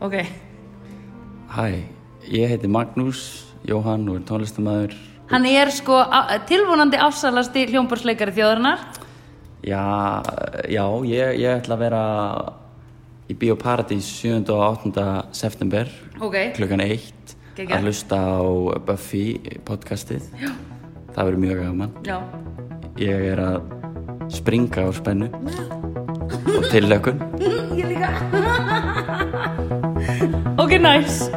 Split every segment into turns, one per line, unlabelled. ok,
Hæ, ég heiti Magnús Jóhann og er tónlistamæður
hann er sko á- tilvonandi ásælasti hljómborðsleikari þjóðarinnar
Já, já ég, ég ætla að vera í Bíóparadís 7. og 8. september
ok,
klukkan 1
Geggjað.
að hlusta á Buffy podcastið já. það verður mjög gaman
já,
ég er að springa á spennu og tillökun
ég líka ok, nice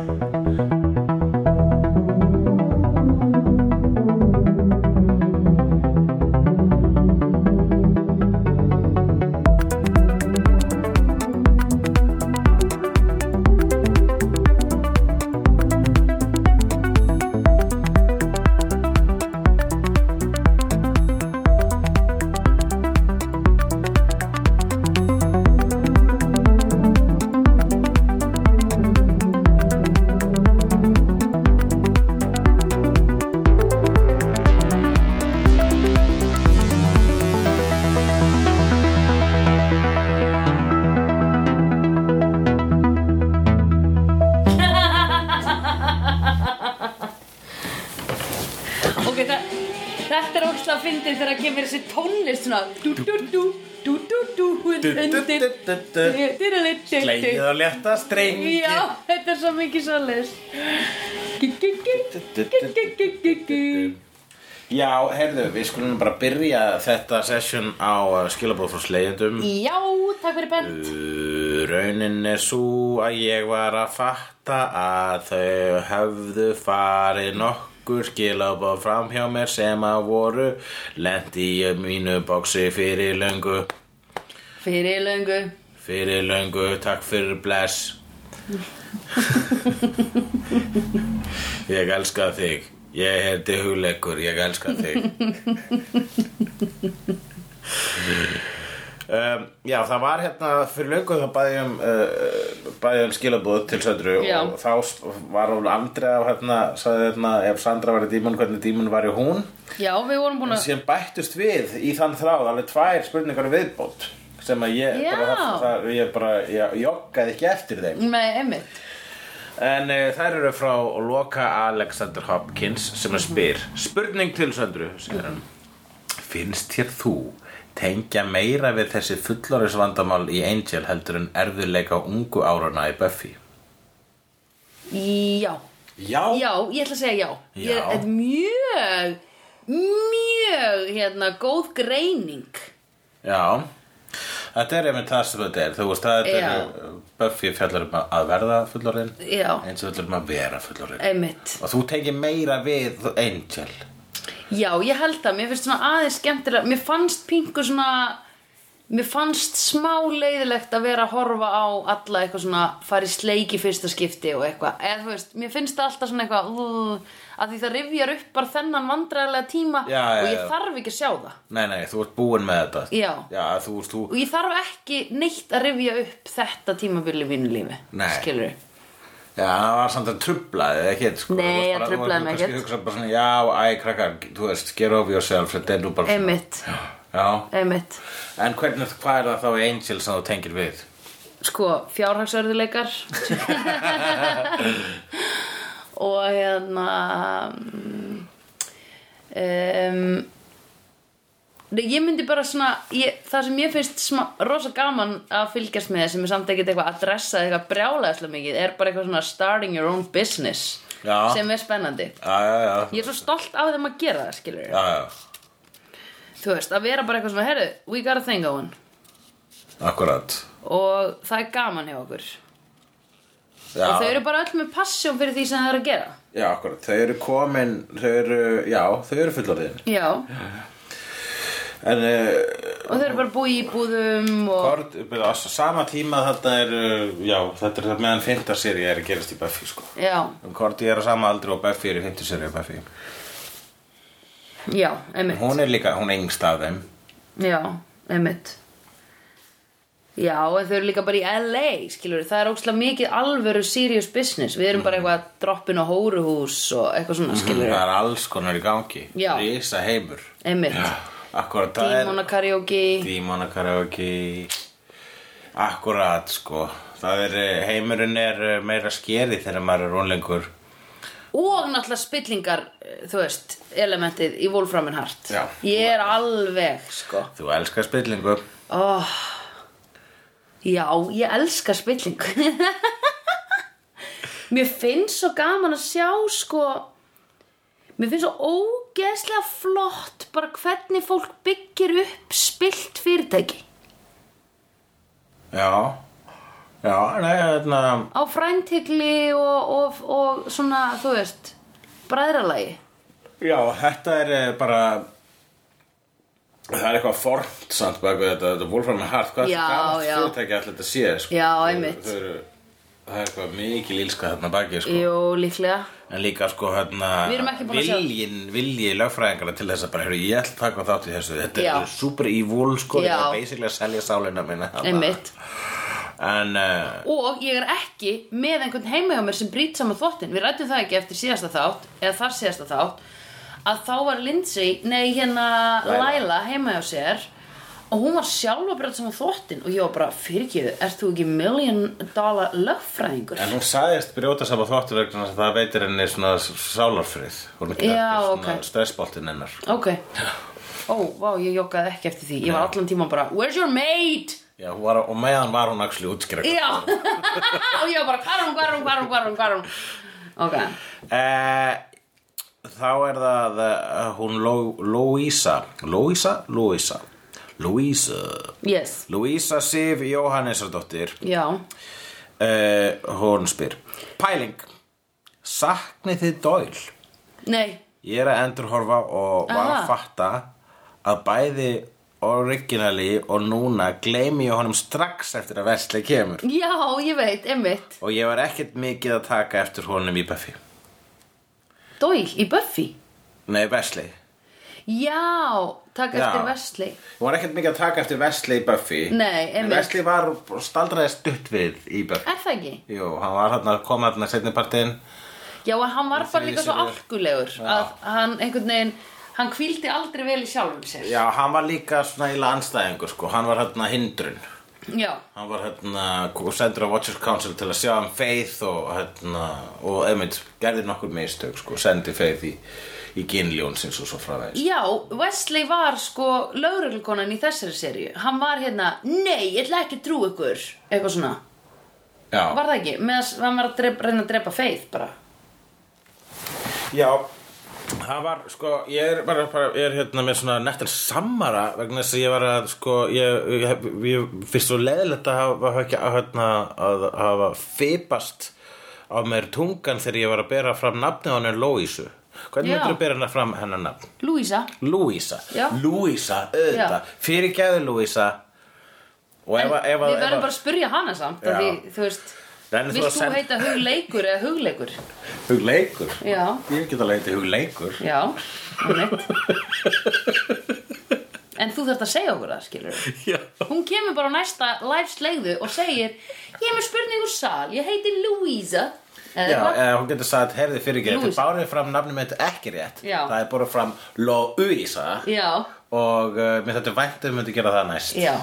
Ok, þa þetta er ógst að fyndið þegar það kemur þessi tónlist svona dú dú dú dú dú dú undir
Slegið
Slegið
og létta strengi
Já, þetta er svo mikið svolist
Já, heyrðu, við skulum bara byrja þetta session á uh, skilabóð frá slegjendum
Já, takk fyrir bent
Uh, Raunin er svo að ég var að fatta að þau höfðu farið nokkur skilabóð fram hjá mér sem að voru lendi í mínu bóksi fyrir löngu
Fyrir löngu
fyrir löngu, takk fyrir bless Ég elska þig Ég heiti hugleikur, ég elska þig um, Já, það var hérna fyrir löngu þá bæði um, uh, bæði um skilabúð til Söndru
Já.
og þá s- var hún aldrei af hérna, sagði hérna, ef Sandra var í dímun hvernig dímun var í hún
Já, við vorum búin
En
að
síðan bættust við í þann þráð alveg tvær spurningar í viðbót sem að ég
Já.
bara, það, það, ég bara ég joggaði ekki eftir þeim
Nei, einmitt
en uh, þær eru frá Loka Alexander Hopkins sem að spyr spurning til söndru segir hann finnst þér þú tengja meira við þessi fullorðisvandamál í Angel heldur en erfiðleika ungu árana í Buffy
Já,
Já,
já, ég ætla að segja já Ég
Já.
þetta er mjög, mjög, hérna, góð greining
Já, þetta er einmitt það sem þetta er Þú veist það þetta
Já.
er Buffy fjallar um að verða fullorinn
Já.
Eins og fjallar um að vera fullorinn
Einmitt
Og þú tengir meira við Angel
Já, ég held að, mér finnst svona aðeins skemmtilega Mér fannst pingu svona Mér fannst smá leiðilegt að vera að horfa á alla eitthvað svona fara í sleik í fyrsta skipti og eitthvað eða þú veist, mér finnst það alltaf svona eitthvað uh, að því það rifjar upp bara þennan vandræðarlega tíma
Já, já,
og ég
já.
þarf ekki að sjá það
Nei, nei, þú ert búin með þetta
Já.
þú veist, þú
og ég þarf ekki neitt að rifja upp þetta tímabili í mínu lífi
Nei.
skilurðu?
Já, það var samt að trublaði þig ekkert sko.
Nei,
Þú varst
það
bara- þú
truflaði mig
varst kannski
ekkert.
að hugsa bara svona, Já, æ, krakkar, þú veist, get over yourself Þetta er nú bara svona
einmitt,
Já,
einmitt
en hvernig, hvað er það þá í Angel sem þú tengir við?
sko, fjárhagsörðuleikar og hérna mm, um, Nei, ég myndi bara svona, ég, það sem ég finnst sma, rosa gaman að fylgjast með sem er samt ekkert eitthvað að dressa eitthvað brjálæðslega mikið er bara eitthvað svona starting your own business
Já.
sem er spennandi
Já, já, já,
Ég er svo stolt af þeim að gera það, skilur
já, já.
Þú veist, að vera bara eitthvað svona, herru, we got a thing going
akkurat
og það er gaman hjá okkur
já.
og þau eru bara öll með passjón fyrir því sem þau eru að gera
Já, akkurat, þau eru komin, þau eru, já, þau eru fullorðin
já,
En uh,
og þau eru bara búið í búðum og
kort, á sama tíma þetta er, uh, já, þetta er það meðan fymta seri er að gerast í Buffy, sko
já,
Korti er á sama aldri og Buffy er í fymta seri á Buffy
já, einmitt
Hún er líka, hún er yngst af þeim
já, einmitt já, en þau eru líka bara í LA skilur, það er ókslega mikið alvöru serious business, við erum
Mm.
bara eitthvað að droppa inn á hóruhús og eitthvað svona skilur,
Það er alls konar í gangi
Já.
Rísa heimur
einmitt
Akkurat, það er
dímona karaoke
Dímona karaoke Akkurat, sko það er, eh, heimurinn er eh, meira skeri þegar maður er rónlengur
og náttúrulega spillingar eh, þú veist, elementið í Wolframin Hart
Já.
ég er alveg sko
Þú elskar spillingu
oh. já, ég elska spilling mér finnst svo gaman að sjá sko mér finnst svo ógeðslega flott bara hvernig fólk byggir upp spilt fyrirtæki
Já, já, eh, hérna, nei, þarna
á fræntigli og, og, og svona, þú veist bræðralagi
Já, þetta er eh, bara Það er eitthvað fornt samt bak við þetta, þetta er Wolfram and Hart, hvað
Já,
er gaman
já.
fyrirtæki alltaf þetta sé, sko
Já,
Þau-
einmitt.
þau eru- Það er eitthvað mikil ílska þarna baki, sko
Jú, líklega
En líka sko hérna
Við erum ekki búin að sjá-
viljin, vilji lögfræðingarna til þess að bara, heyrðu, ég ætla að taka þátt í þessu Þetta
Já.
er super evil sko,
Já.
þetta er basically að selja sálina minna
Einmitt.
En uh,
Og ég er ekki með einhvern heima hjá mér sem brýt saman þvottin Við rættum það ekki eftir síðasta þátt Eða þar síðasta þátt Að þá var Lindsay, nei hérna
Laila.
Laila, heima hjá sér Og hún var sjálf að brýta saman þvottin Og ég var bara, fyrirgeðu, ert þú ekki million dollar lögfræðingur?
En hún sagðist brjóta saman þvottur vegna þess að það veitir henni svona sálarfrið Hún er ekki
Já,
eftir svona
ok.
stressboltinn hennar
Ok Ó, vá, ég joggaði ekki eftir því Ég var allan tíman bara, where's your maid?
Já, hún var, og meðan var hún axli útskýra
Já Og ég var bara, hvar er hún, hvar er hún, hvar er hún, hvar er hún, hvar er hún Ok
Eh, Þá er það uh, hún Ló- Louisa Louisa? Louisa Louisa
Yes,
Louisa Sif Jóhannesardóttir
já
uh, Hún spyr Pæling Saknið þið dóil?
Nei,
Ég er að endurhorfa og var
Aha.
að fatta að bæði originali og núna gleymi ég honum strax eftir að versli kemur
já, ég veit, einmitt
og ég var ekkert mikið að taka eftir honum í Buffy
Dóil í Buffy
Nei, versli Ég
Já, takk
Já.
eftir versli
var ekkert mikið að taka eftir versli í Buffy
Nei, einmitt.
Versli var staldraði stutt við í Buffy
Er það ekki?
Jú, hann var hann að koma hann að setni partinn
Já, en hann var bara
Þriðji
líka svo
seríu.
alkulegur að hann einhvern veginn hann hvíldi aldrei vel í sjálfum sér
Já, hann var líka svona í landstæðingur sko Hann var hann að hindrun
Já,
Hann var hérna sendur á Watchers Council til að sjá um Faith og hérna og einmitt gerði nokkur mistök sko, sendi Faith í, í Ginljón sinns og svo framvegis.
já Wesley var sko lögreglukonan í þessari seríu Hann var hérna, nei, ég ætla ekki að trú ykkur Eitthvað svona,
Já.
var það ekki? Með að hann var að drepa, reyna að drepa feið bara
Já. Það var, sko, ég er bara, bara ég er hérna með svona nettan samara vegna þess að ég var að, sko, ég, ég, ég fyrst svo leðilegt að hafa, hafa ekki, að, hérna, að hafa fipast á mér tungan þegar ég var að bera fram nafnið á henni Lóísu. Hvernig
Já.
myndir að bera hennar fram hennar nafn?
Louisa,
Louisa
Já.
Louisa, auðvitað,
Já.
fyrir gæðu Louisa Og ef að ef að-
við
ef
verðum
að-
bara að spyrja hana samt af
Já.
því, þú veist,
Rennir þú
vilt
að
þú
senda-
heita hugleikur eða hugleikur?
Hugleikur
Já,
Ég get að leita hugleikur
já, einmitt En þú þarft að segja okkur það, skilur
Já
Hún kemur bara á næsta liveslegðu og segir Ég er með spurning úr sal, ég heiti Louisa Eða
Já,
eitthvað
eða hún getur sagt, heyrði fyrir ekki Þið
Louisa.
bárið fram nafnum mitt ekki rétt
Já.
Það er bara fram Louisa
Já,
Og uh, mér þetta væntum myndi gera það næst
Já.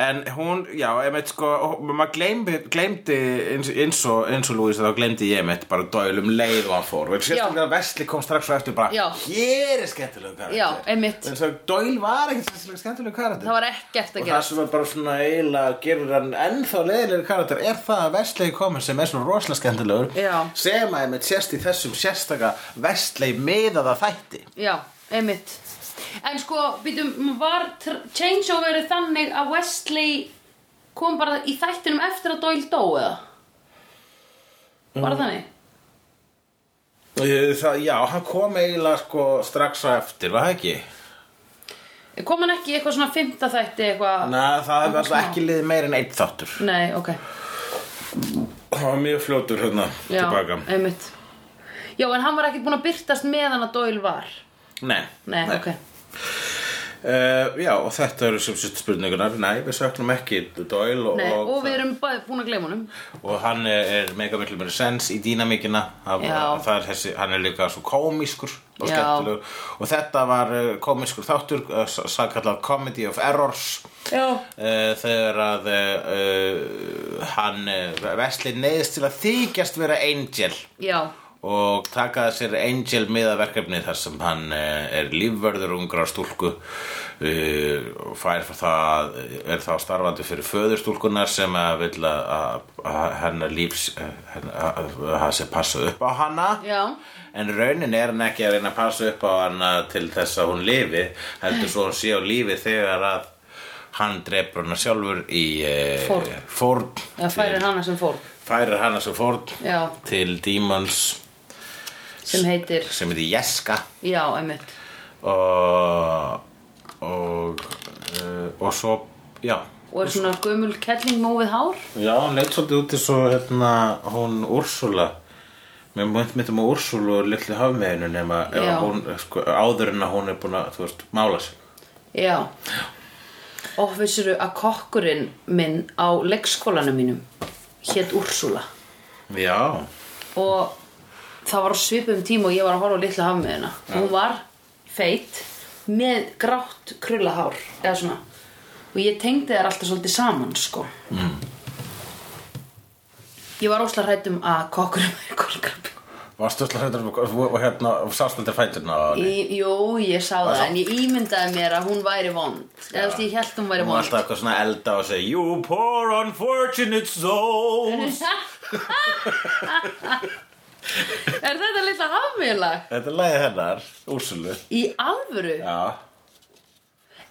En hún, já, ég veit sko hún- Maður gleymdi, gleymdi eins, eins og, eins og Louisa þá gleymdi ég mitt bara dælum leið og hann fór Og sérstaklega Vesli kom strax og eftir bara
Já.
Hér er skemmtilega karakter
Já, einmitt.
En svo Doyle var ekkert sérstaklega skemmtilega karakter
það var ekkert að
Og
gera
það sem er bara svona eiginlega gerur hann ennþá leiðilegur karakter er það að Vestlegi komin sem er svona rosalega skemmtilegur
Já.
sem að einmitt sérst í þessum sérstaka Vestlegi miðaða þætti
Já, einmitt En sko, býtum, var tr- changeoverið þannig að Wesley kom bara í þættinum eftir að Doyle dó eða? Var
Mm.
það þannig?
Uh, það, Já, hann kom eiginlega sko strax á eftir, var það ekki?
Kom hann ekki í eitthvað svona fymta þætti eitthvað?
Nei, það hefði alltaf
Ok.
ekki liðið meir en einn þáttur
Nei, ok
Það var mjög fljótur hérna
Já, einmitt Já, en hann var ekkert búinn að byrtast meðan að Doyle var
Nei,
Nei, ok
Uh, já, og þetta eru sem sýtt spurningunar Nei, við söknum ekki Doyle og,
Nei, og við
það-
erum bæði búin að gleyma honum
og hann er, er mega miklu meira sens í dýnamíkina af,
Já.
það er þessi, hann er líka svo komískur og
Já.
skemmtilegur og þetta var eh, komískur þáttur eh, s- sakallað Comedy of Errors
Já
Uh, þegar að uh, hann uh, Vesli neyðist til að þykjast vera Angel
Já,
og takaði sér Angel miðaverkefni þar sem hann uh, er lífvörður ungra stúlku uh, og fær fyrir það er þá starfandi fyrir föðurstúlkunar sem að vil að, að, að hennar lífs eh, henn- að að- að það sé passa upp á hana
Já.
en raunin er hann ekki að reyna að passa upp á hana til þess að hún lifi heldur svo hún sé á lífi þegar að hann drepur hana sjálfur í eh,
Fórn.
fórn
það færir hana sem fór
færir hana svo fórn
Já.
til dímons
sem heitir,
sem heitir Jeska
já, einmitt
og og, uh, og svo já,
og er svona gömul kelling móvið hár
já hún leit svolítið út eins og hérna, hún Úrsula mér mjönd mitt um Úrsulu og litli hafmeðinu nema ef
Já.
hún, sko, áður en að hún er búin að þú veist, mála sig
Já og vissuru að kokkurinn minn á leikskólanum mínum hétt Úrsula
já,
og það var á svipum tíma og ég var að horfa á litla hafmiðina og hún var feit með grátt krullahár eða svona og ég tengdi þær alltaf svolítið saman sko mm. ég var óslega hrætt um að kokkurinn væri kolkrabbi
varstu alltaf hættur og hérna, sást aldrei fæturna á henni?
Í- Jú, ég sá það, en ég ímyndaði mér að hún væri vond Eða þú veist, ég held hún væri
hún var
vond
alltaf eitthvað svona elda og segja you poor unfortunate souls
Er þetta litla hafmiðlag?
þetta er lagið hennar, Úrsulu
Í alvöru?
já,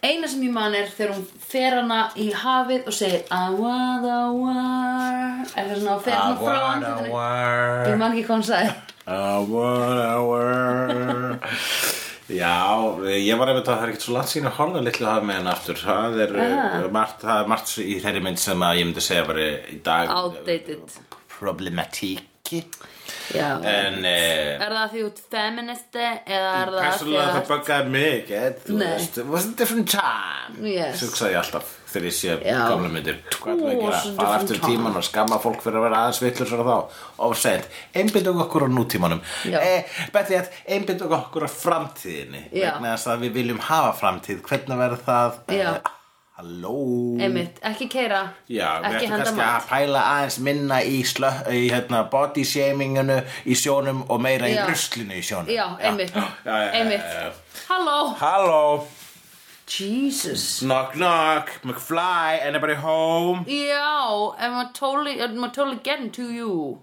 Eina sem ég man er þegar hún fer hana í hafið og segir Awadawa Er það svona, og fer hana frá andlutinu Ég man ekki hvað hún sagði
A one hour Já, ég var einmitt að það er ekkert svo langt sín að horfa litlu að hafa með henni aftur Það er, uh, margt, það er margt í þeirri mynd sem að ég myndi segja bara í dag
Outdated
Problematíki
Já
En uh,
Er það því út feministi eða er það af því
persónulega það buggaði mig eh, Þú
Nei.
veist, it was a different time
Yes.
Svo hugsaði ég alltaf þegar ég sé
Já.
gamla myndir Hvað er það að
It
gera?
was a
Fara
different
aftur í
time.
tíman og skamma fólk fyrir að vera aðeins villur svo þá Ofsend, einbyndum okkur á nútímanum
Já.
eh, Betið að einbyndum okkur á framtíðinni
Já.
Vegna þess að við viljum hafa framtíð Hvernig verður það?
Já.
Eh, Halló
Einmitt, ekki keira,
Já, við
ekki
ættum
henda
kannski að
mat
pæla aðeins minna í, slö, í hérna, body shaminginu í sjónum og meira
Já.
í ruslinu í sjónum
Já, einmitt,
já, já, já, já, já.
einmitt Halló
Halló,
Jesus
knock knock, McFly, anybody home?
Já, and we're totally, and we're totally getting to you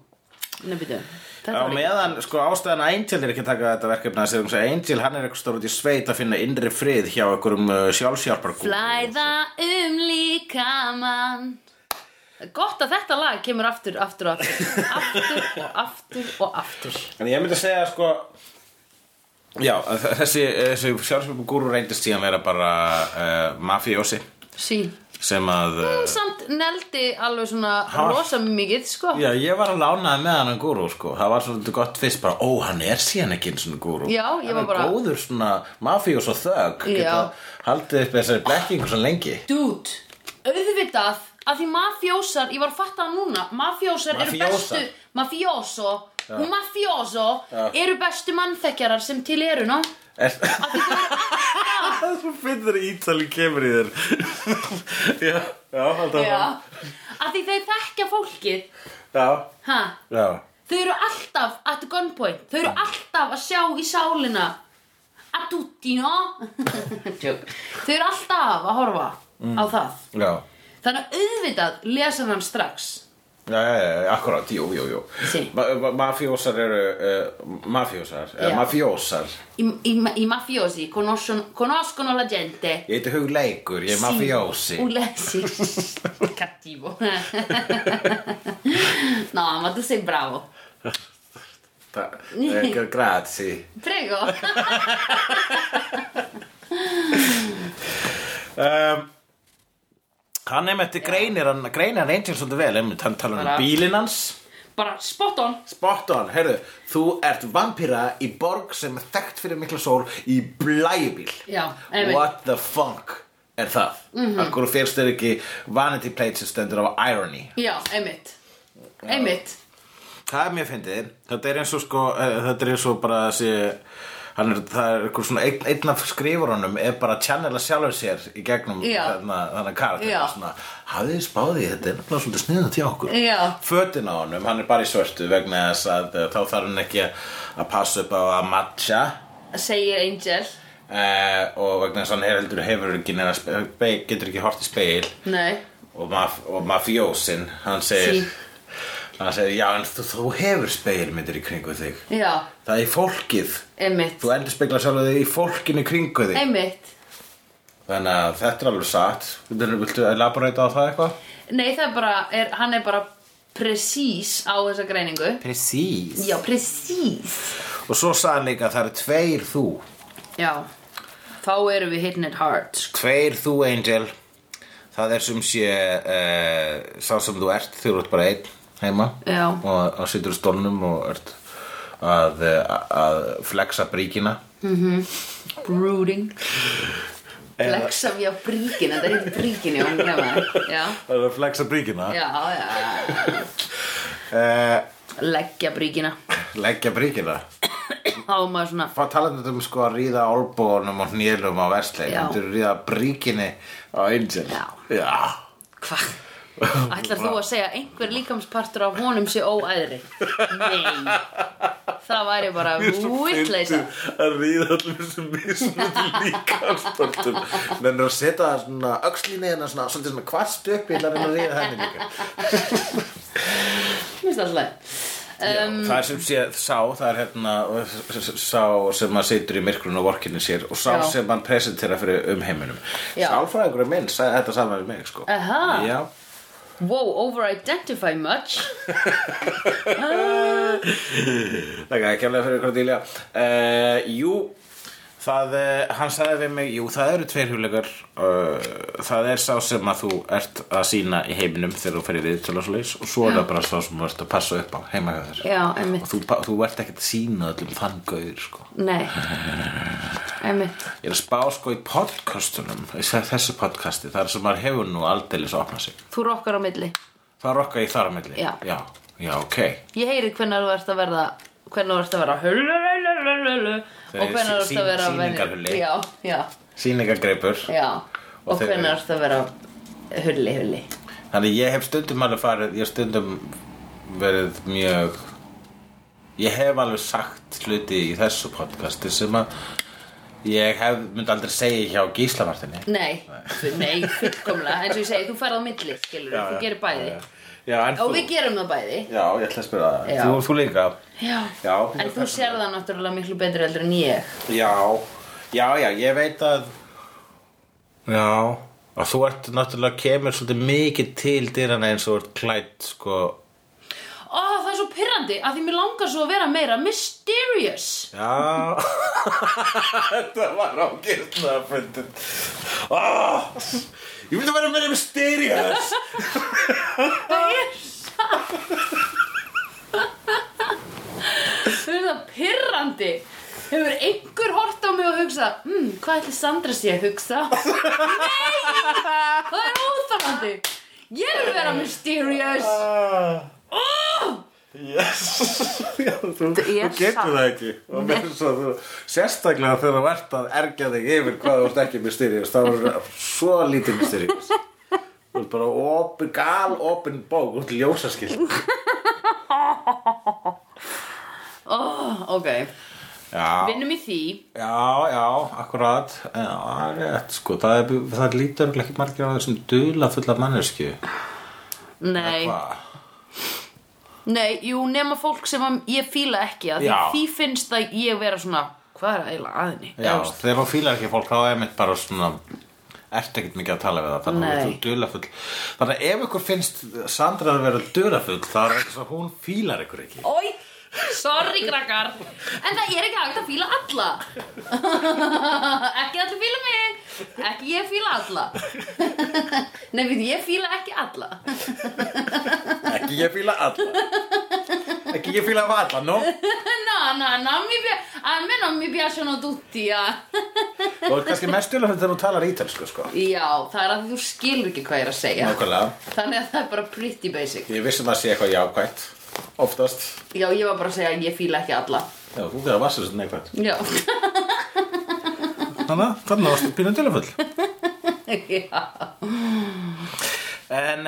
Nei, býtu Þetta
Á
var ekki
meðan, sko, ástæðan að Angel er ekki að taka þetta verkefni að segja um sig Angel, hann er eitthvað stór út í sveit að finna innri frið hjá einhverjum uh, sjálfsjálpargú
Flæða um líkamann Gott að þetta lag kemur aftur, aftur og aftur Aftur og aftur og aftur
En ég myndi að segja, sko Já, að þ- þessi, þessi sjálfsjálpargúru reyndist síðan vera bara uh, mafíósi
Sí
sem að uh,
Hún samt neldi alveg svona
Ha?
rosa mikið, sko
Já, ég var að lánaði með hann gúrú, sko Það var svolítið gott fyrst bara, ó, hann er síðan ekki eins og gúrú
Já, ég var bara-
Hann er góður svona mafíós og þögg
Já.
Geta haldið upp þessari blekkingu svo lengi
Dude, auðvitað að því mafjósar, ég var að fatta það núna mafjósar eru
Mafiosa.
bestu mafjóso, hún mafjóso eru bestu mannþekjarar sem til eru no?
Er... Það er svo finnir ítalið kemur í þér Já, já, haldið
Já að því þau þekkja fólkið
Já,
ha?
já
þau eru alltaf at gunpoint þau eru alltaf að sjá í sálina að tutti no? Joke. þau eru alltaf að horfa á það
Já,
þannig að auðvitað lesa hann strax
já, já, já, akkurát, jú, jú, jú
Sí.
ma ma Mafíósar eru, uh, mafíósar,
Já.
eh, mafíósar
I, i, i mafiosi conoscono, conoscono la gente
Ég heiti Hugleikur, ég er mafíósi
Un le- sì. Cattivo. no, ma tu sei bravo.
Ta- eh, Grazie
Prego.
um, Hann er með þetta greinir hann greinir hann Angel svolítið vel einmitt, hann talar um
Bara-
bílinn hans
bara spot on
Spot on, heyrðu, þú ert vampíra í borg sem er þekkt fyrir mikla sól í blæjubíl.
Já, einmitt. Mhm.
What the funk er það? Mm -hmm. Akkur fyrst er ekki vanity plate sem stendur á irony.
Já, einmitt Einmitt
Það er mjög fyndið. Þetta er eins og sko, eh, þetta er eins og bara þessi, hann er, það er eitthvað svona, einn, einn af skrifurunum er bara að channela sjálfur sér í gegnum
Já.
þannig karakter.
Já.
Svona, hafið þið spáðið, í þetta er náttúrulega svolítið sniðan til okkur.
Já.
Fötin á honum, hann er bara í svörtu vegna þess að eh, þá þarf hann ekki að passa upp á að matcha
Segir Angel
eh, og vegna þess að hann er heldur hefur ekki, neina spe- spe- getur ekki hort í speil
Nei
og, maf og mafjósin, hann segir...
Sí.
Hann segir, já, en þú, þú hefur speilmyndir í kringu þig.
Já,
Það er í fólkið
einmitt
Þú endur spekla sjálf þig í fólkinu kringu þig
Einmitt
Þannig að þetta er alveg satt Viltu, viltu elaborate á það eitthvað?
Nei, það er bara, er, hann er bara presís á þessa greiningu
Presís
Já, presís
Og svo sagði hann líka að það eru tveir þú
Já, þá erum við hitting it hard sko.
Tveir þú Angel Það er sem sé uh, Sá sem þú ert, þú ert bara einn heima
Já.
Og, og situr í stólnum og ert að, eh, að flexa bríkina
Brooding Flexa við á bríkin, þetta er hitt bríkin já, hún glemma það. já,
Það er að flexa bríkina
já, já
uh,
Leggja bríkina
Leggja bríkina
Þá er maður svona
Hvað talandum um sko að ríða álbónum og hnélum á versleik
Já.
Þú eru ríða bríkinni á Angel
Já.
Já
Hva? Ætlar þú að segja að einhver líkamspartur af honum sé óæðri? Nei Það væri bara vitleisa
Að ríða allir þessum mismunandi líkamstoltum Menn að setja það svona öxlinni hennar svona Svolítið svona kvast upp Ég ætla að reyna að ríða henni líka
Minnst alltaf um,
Það er sem sé sá Það er hérna sá sem maður situr í myrkrun og vorkinni sér Og sá
Já.
sem maður presentera fyrir um heiminum
Já.
Sálfræðingur minn sagði þetta saman við mig sko
Aha.
Já
Wow, over-identify much
Það er ekki alveg fyrir Cordelia uh, Jú Það, eh, hann sagði við mig, jú, það eru tveir hugleikar uh, Það er sá sem að þú ert að sína í heiminum þegar þú ferir við til og svoleiðis og svo er það bara sá sem þú ert að passa upp á heima hjá þér
Já, einmitt.
Og þú, pa- þú ert ekkert að sína öllum þann gauður, sko
Nei Einmitt
Ég er að spá, sko, í podcastunum þessu podcasti, þar sem maður hefur nú aldeilis að opna sig
Þú rokkar á milli
Það rokka ég þar á milli
Já.
Já, já, ok
Ég heyri hvernig þú ert að verða hvernig þú ert að vera hulululululu
Þegar
og hvernig þú ert
sí-
að vera
sí- sýningarhulli.
Já, já,
Sýningagreipur
já
Og
og
þegar-
hvernig þú ert að vera hulli, hulli
Þannig ég hef stundum alveg farið, ég hef stundum verið mjög, ég hef alveg sagt hluti í þessu podcasti sem að ég hef, myndi aldrei segja hjá Gíslamartinni.
Nei, nei, fullkomlega eins og ég segi, þú færð á milli, skilur þú gerir bæði
Já, já en þú,
og við gerum það bæði
já, ég ætla að spyrja það,
Já.
þú, þú líka.
Já,
Já,
en þú sér það náttúrulega miklu betur heldur en ég
Já, já, já, ég veit að, já, að þú ert náttúrulega kemur svolítið mikið til dyrana eins og þú ert klætt, sko,
Ó, það er svo pirrandi að því mér langar svo að vera meira mysterious
Já Þetta var ágirna að fundin oh, Ég vildi vera meira mysterious
Það er satt Þú veist það pirrandi Hefur einhver hort á mig og hugsa hmm, Hvað ætli Sandra sé að hugsa? Nei! Það er óþarfandi Ég vil vera mysterious
Yes Já, þú, þú
Ég
getur
satt.
það ekki Og með þess að þú Sérstaklega þegar þú ert að ergja þig yfir hvað þú ert ekki mysterious þá er það svo lítið mysterious Þú ert bara opin, gal opin bók Þú ert ljósaskilt
oh, Ok,
Já,
vinnum í því
Já, já, akkurat Já, það er rétt, sko Það, er, það lítur örugglega ekki margir á þessum dula fulla mannesku
Nei,
Hvað?
nei, jú, nema fólk sem að ég fíla ekki að því,
Já.
því finnst að ég vera svona Hvað er eiginlega að henni?
Já, þegar þú fílar ekki fólk þá er mitt bara svona ertu ekkert mikið að tala við það þannig að
Nei.
þú ert dulafull þannig að ef ykkur finnst Sandra að vera dulafull þá er þess að hún fílar ykkur ekki
Oi, sorry krakkar En það er ekki hægt að fíla alla Ekki allir fíla mig Ekki ég fíla alla Nei, við, ég fíla ekki alla
ekki ég fíla alla Ekki che fila valla, no?
No, no, no, mi pi- a me non mi piacciono tutti ah.
Og er kannski mest til þegar þú talar ítalsku, sko
Já, það er að þú skilur ekki hvað ég er að segja
Nákvæmlega
Þannig að það er bara pretty basic
Ég vissum að sé eitthvað jákvætt Oftast
Já, ég var bara að segja að ég fíla ekki alla
Já, þú verður að vassa þessu neikvætt
Já,
Þannig að þannig varstu pínu dularfull
já
En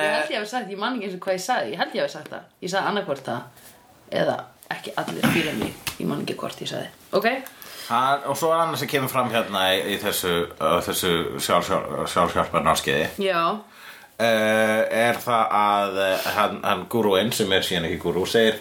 Ég
eh,
held ég hafi sagt, ég man ekki eins og hvað ég sagði, ég held ég hafi sagt það. Ég sagði annarkvort það eða ekki allir fyrir mig, ég man ekki hvort ég sagði. Ok?
hann, og svo er annað sem kemur fram hérna í, í þessu, uh, þessu sjálfhjálpar náskiði
Já.
uh, er það að uh, hann, hann gurúinn sem er síðan ekki gurú segir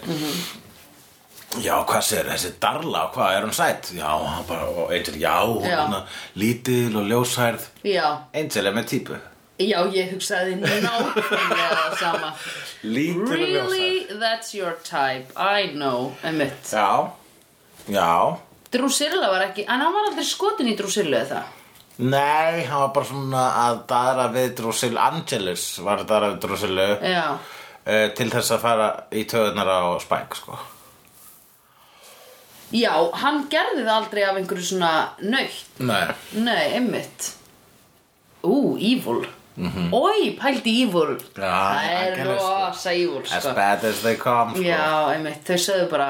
Já, hvað segir þessi Darla, hvað er hún sætt? Já, hann bara, og Angel, já, hún
Já.
er svona lítil og ljóshærð
Já.
Angel er með típu
Já, ég hugsaði nákvæmlega það sama.
Lítil og ljóshærð
Really, that's your type. I know, emitt.
Já, já
Drusilla var ekki, en hann var aldrei skotin í Drusilla eða það.
Nei, hann var bara svona að daðra við Drusil Angelus var að daðra við Drusilu
Já.
uh, til þess að fara í töðunar á Spike sko.
Já, hann gerði það aldrei af einhverju svona nöytt.
Nei
Nei, emitt. Ú, evil. Mm -hmm. Ói, pældi evil.
Mhm. Já,
það er
algjörlega, sko.
rosa evil, sko.
As bad as they come sko.
Já, einmitt, þau sögðu bara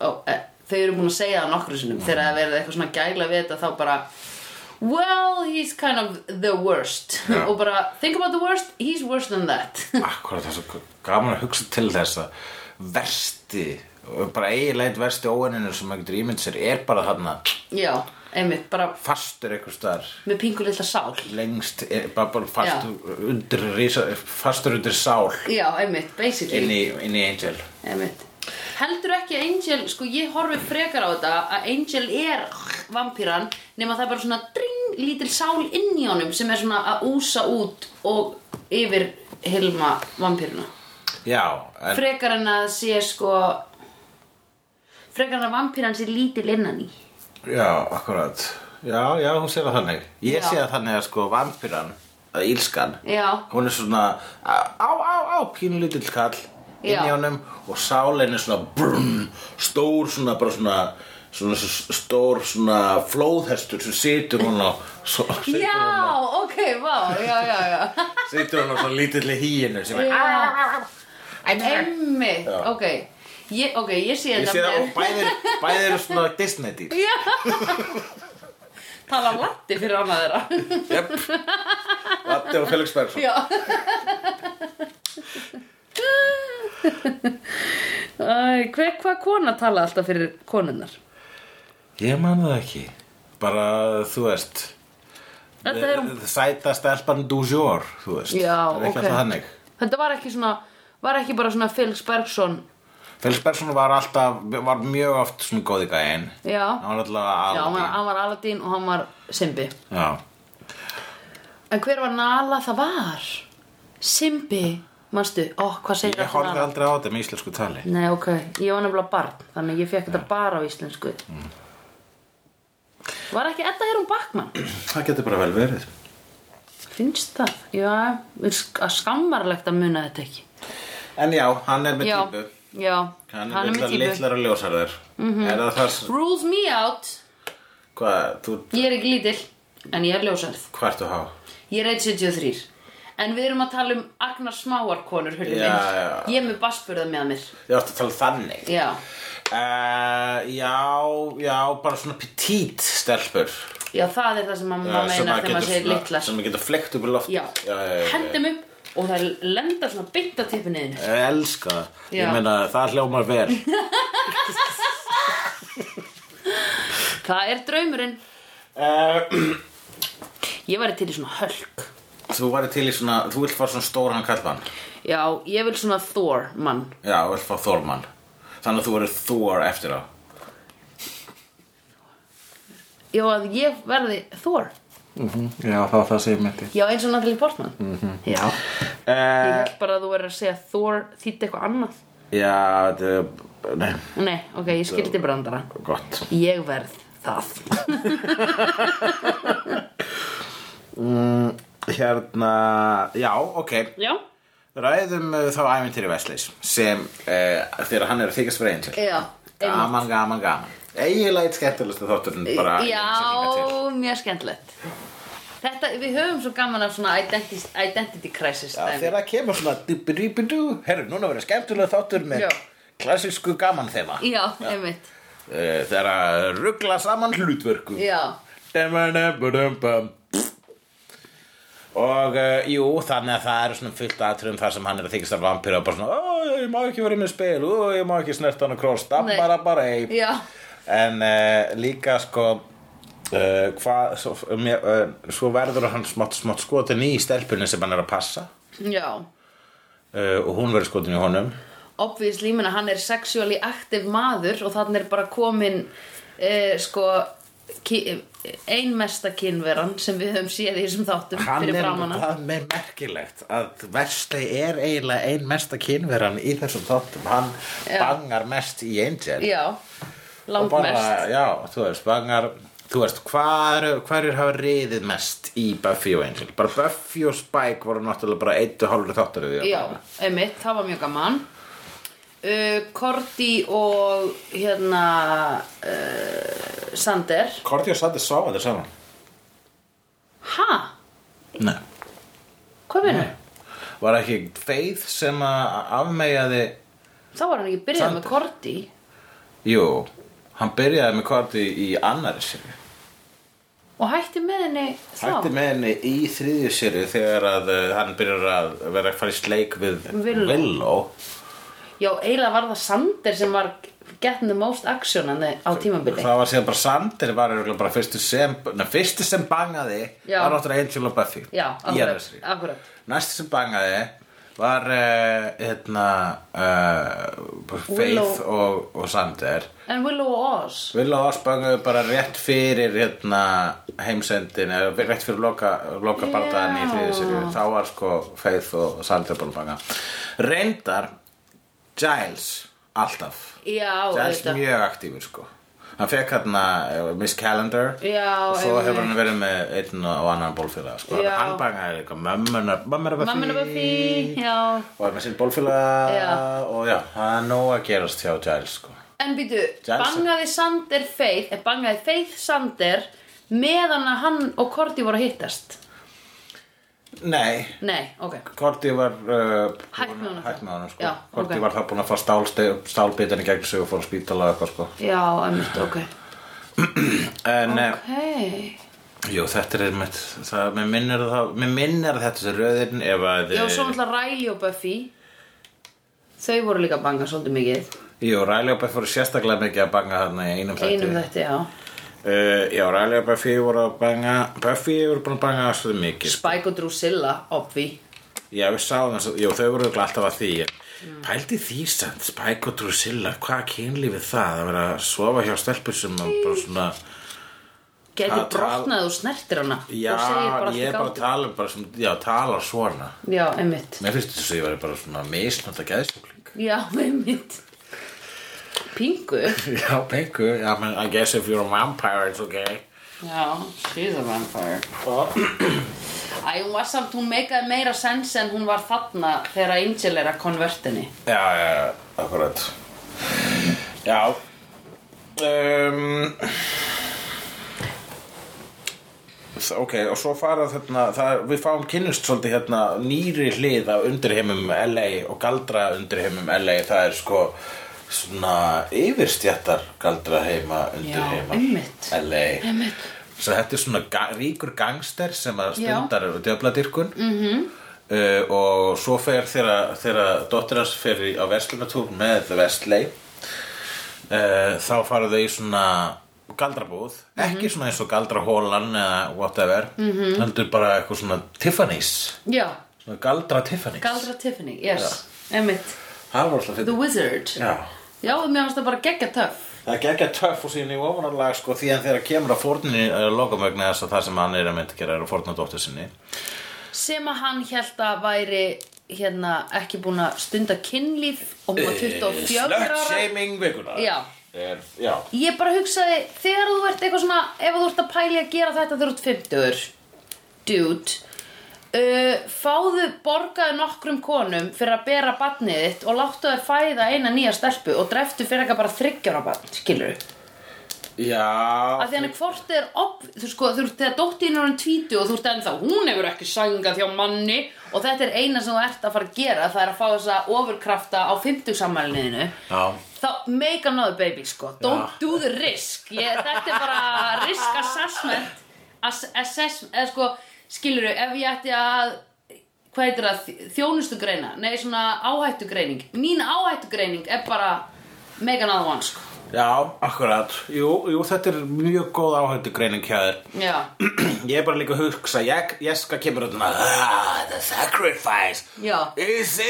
ó, e, þau eru búin að segja það nokkru sinnum
Mhm.
þegar það verið eitthvað svona gæla við þetta þá bara Well, he's kind of the worst
Já.
og bara, think about the worst, he's worse than that
Akkurat það er svo gaman að hugsa til þess að versti og bara eiginlega einn versti óenninu sem maður getur ímynd sér er bara þarna
Já, einmitt, bara
fastur einhvers staðar
með pingu litla sál
lengst, er, bara, bara fastur, undir, risa, fastur undir sál
Já, einmitt, basically
inn í, inn í Angel
Einmitt. Heldur ekki að Angel, sko ég horfi frekar á þetta að Angel er vampíran nema það er bara svona dring, lítil sál inn í honum sem er svona að úsa út og yfir hilma vampíruna.
Já, en
Frekar en að sé sko, frekar en að vampíran sé lítil innan í.
Já, akkurat Já, já, hún sé það þannig Ég
Já.
sé það þannig að sko vampíran að ílskan
Já.
Hún er svona á, á, á, pínlítill kall inn
Já.
í honum og sálin er svona brum, stór svona bara svona svona s- stór svona flóðhestur sem situr hún á svo, situr,
Já,
hún á,
ok, vá, já, já, já.
situr hún á svona lítilli híinu sem er
já. Einmitt,
Já.
ok. Ég, ok, ég sé
Ég
þetta
sé það
með-
og bæðir, bæðir eru svona Disney dýr
tala latti fyrir annað þeirra.
Jöp Latti og Felix Bergson
Já Æ, hver, hvað kona tala alltaf fyrir konunnar?
Ég man það ekki Bara, þú veist
Þetta er um,
Sæta stelpan du jour, þú veist
já,
Það er
ok
ekki alltaf þannig
Þetta var ekki svona, var ekki bara svona Felix Bergson
Felix Bergson var alltaf, var mjög oft svona góði gæinn
Já,
Hann var alltaf
já hann, var,
aðal
hann var Aladdin og hann var Simbi
Já,
En hver var Nala? Það var Simbi, manstu, ó, hvað segir
ég
þetta
horfði
Nala?
aldrei á þetta með íslensku tali
Nei, ok, ég var nefnilega barn, þannig að ég fekk þetta bara á íslensku Var ekki Edda Herum Bakman?
Það getur bara vel verið
Finnst það? Já, er sk- að skammarlegt að muna þetta ekki.
En já, hann er með
já,
típu
já,
Hann er litlar, litlar og ljósarður
Mhm.
Er það það, sem-
Rules me out,
hvað, þú,
ég er ekki lítill, en ég er ljósarð.
hvað ertu að hafa?
Ég er 173. En við erum að tala um Agnar Smáarkonur, hörðu
Já, já.
Ég er með basburða með mér.
Ég átti að tala þannig
Já,
uh, Já, já, bara svona petít stelpur
já, það er það sem mamma
Já, sem
meinar
maður
þegar maður
getur
segir
svona-
litlar.
Sem maður getur flekt upp í loft
Já,
já, já, já, já.
hendum upp og það lenda svona beint á tippu niður.
Ég elska það.
Já.
Ég meina það hljómar vel
Það er draumurinn.
uh,
Ég væri til í svona hölk.
Þú væri til í svona Þú vilt fá svona stóran kallmann
Já, ég vil svona Thor mann.
Já, þú vilt fá Þormann Þannig að þú verður Þor eftir á
Já, að ég verði Thor
Já, það það segir mér til
Já, eins og Natalie Portman -hmm.
Mhm.
Já, ég
uh,
held bara að þú verður að segja Thor þýtti eitthvað annað
Já, þetta er Nei,
Nei, ok, ég skildi brandara
gott
Ég verð það
Hérna, já, ok
Já,
Eh, Ræðum uh, þá ævintýri Vesleys sem uh, þegar hann er að þykast fyrir einsil
Já, einmitt.
Gaman, gaman, gaman Eiginlega eitt skemmtilegsta þátturinn bara sem hingað til.
Já, mjög skemmtilegt Þetta, við höfum svo gaman af svona identity, identity crisis
Já,
dæmi.
þegar það kemur svona dubbidubbidu Herru, núna verður skemmtilega þáttur með
Já.
klassísku gaman þema
Já, einmitt
Eh, Þegar að ruggla saman hlutverku
Já,
Dum-a-dum-ba-dum-bum. Og uh, jú, þannig að það eru svona fullt aðtröðum þar sem hann er að þykist að vampíra og bara svona, ó, ég má ekki vera með spil, ó, ég má ekki snert hann og kross,
Nei.
dabbara bara eip.
já,
En uh, líka sko, uh, hvað, svo, mér, uh, svo verður hann smátt, smátt skotin í stelpunni sem hann er að passa
já
uh, og hún verður skotin í honum.
Obviously, ég meina, hann er sexually active maður og þannig er bara komin eh, sko ki- einmesta kynveran sem við höfum séð í þessum þáttum
Hann
fyrir
er,
framana
það er merkilegt að Vestley er eiginlega ein mesta kynveran í þessum þáttum, hann bangar mest í Angel.
Já,
og bara,
langmest
já, þú veist, bangar þú veist, hvar, hvar er hafa riðið mest í Buffy og Angel bara Buffy og Spike voru náttúrulega bara eitt og hálfur þáttar við
Já, einmitt, það var mjög gaman Uh, Korti og hérna uh, Sander
Korti og Sandi sáfa þér saman
Ha?
Nei.
Hvað meina?
var ekki Faith sem að afmeyjaði
Þá var hann ekki byrjað
Sander.
með Korti
jú, hann byrjaði með Korti í annari séri
og hætti með henni þá
hætti með henni í þriðju séri þegar að uh, hann byrjar að vera að fara í sleik við
Willow. Já, eiginlega var það Sander sem var getting the most action hann á tímabili
Það var síðan bara Sander var örugglega bara fyrstu sem, na, fyrstu sem bangaði
Já.
var náttúrulega Angel og Buffy
Já,
í
akkurat,
Annarsri.
akkurat
Næstu sem bangaði var uh, hérna uh, Faith
Willow.
og, og Sander
En Willow og Oz
Willow og Oz bangaði bara rétt fyrir hérna heimsendin eða rétt fyrir loka, loka
Já.
bardaðan í þriðið sér þá var sko Faith og, og Sander búin að banga Reyndar Giles alltaf
Já,
Giles
auðvitað.
mjög aktífur sko Hann fekk hérna eh, Miss Calendar
Já,
og svo
einmitt.
hefur hann verið með einn og annan bólfélaga sko.
Já.
Hann bangaði eitthvað mömmunar mömmunar Buffy
Mamma henni var fí, já
og er með sinn bólfélaga
Já.
og já, það er nóg að gerast hjá Giles sko.
En býtu,
Jensen.
bangaði Sander Faith, eh, bangaði Faith Sander meðan að hann og Korti voru að hittast.
Nei,
Nei, ok.
Korti var uh,
Hætt með honum.
hætt með honum sko.
Já,
Korti
ok.
var það búin að fá stálste- stálbitan í gegn sig og fór á spítala og eitthvað sko.
Já, einmitt, ok.
en okay.
Ok.
jú, þetta er mitt það, mér minnir það, mér minnir að þetta er röðin ef að eh,
Já, svo náttúrulega Riley og Buffy. Þau voru líka að banga svolítið mikið.
Jú, Riley og Buffy voru sérstaklega mikið að banga þarna í einum þætti.
Einum þetta, já.
Uh, já, Riley og Buffy voru að banga, Buffy voru búin að banga svolítið mikið.
Spike og Drusilla, obvi.
Já, við sáum þess að, jú, þau voru örugglega alltaf að því. Mm. Pældi því samt, Spike og Drusilla, hvað kynlífið það? Að vera að sofa hjá stelpur sem að bara svona...
Getur
Það- það-
brotnað og snertir hana.
Já,
og segir bara allt
ég
í
er bara að
gangi.
tala um bara svona, já, tala svona.
Já, einmitt.
Mér finnst þess að ég væri bara svona misnanda gæðsjúkling.
Já, einmitt. Pingu.
Já, pengu, já, menn, I guess if you're a vampire, it's okay.
Já, she's a vampire.
Og...
Æ, hún var samt, hún meikaði meira sens en hún var þarna þegar Angel er að konvertinni.
Já, já, já, akkurat Já um, s- Ok, og svo fara þarna það, Við fáum kynnust svolítið hérna nýri hlið á undirheimum LA og galdra undirheimum LA það er sko svona yfirstjættar galdra heima undirheima
einmitt.
LA
Einmitt.
Svo þetta er svona ga ríkur gangster sem að
Já. Mhm.
stundar djöfladirkun mm -hmm. og svo fer þeirra, þeirra dóttir hans fer í- á verslunatúr með Vestley uh, þá fara þau í svona galdrabúð,
Mhm.
ekki svona eins og galdrahólan eða whatever mm -hmm. heldur bara eitthvað svona Tiffany's
Já,
svona galdra Tiffany's
Galdra Tiffany, yes, einmitt.
það var alltaf
The
fyrir
Wizard.
Já.
Já, mér fannst það bara geggja töff.
Það er ekki að töff og síðan í ofanarlag sko því að þegar kemur að fórninni uh, lokamögnu þess að það sem hann er að mynda að gera er að fórna dóttur sinni
Sem að hann held að væri hérna ekki búin að stunda kynlíf og hún var
Eh,
24 ára.
Slökkshaming vikuna
Já.
er, Já
Ég bara hugsaði, þegar þú ert eitthvað svona, ef þú ert að pæli að gera þetta þegar þú ert 50 dude, Uh, fáðu borgaði nokkrum konum fyrir að bera barnið þitt og láttu þær fæða eina nýja stelpu og dreftu fyrir eitthvað bara þryggjara barn, skilur við
Já,
að því hann er hvort er op, þú sko, þú ert þegar dóttin er hann tvítu og þú ert ennþá, hún hefur ekki sangað hjá manni og þetta er eina sem þú ert að fara að gera það er að fá þessa ofurkrafta á 50 sammælniðinu
já.
þá make another baby sko don't
Já.
do the risk ég, þetta er bara risk assessment ass, assessment, eða sko skilur ef ég ætti að hvað heitir það, þj- þjónustugreina nei svona áhættugreining mín áhættugreining er bara make another one sko
Já, akkurat. Jú, jú, þetta er mjög góð áhættu greining hjá þér.
já,
Ég er bara líka að hugsa, ég, ég skal kemur út með ah, The sacrifice
Já.
is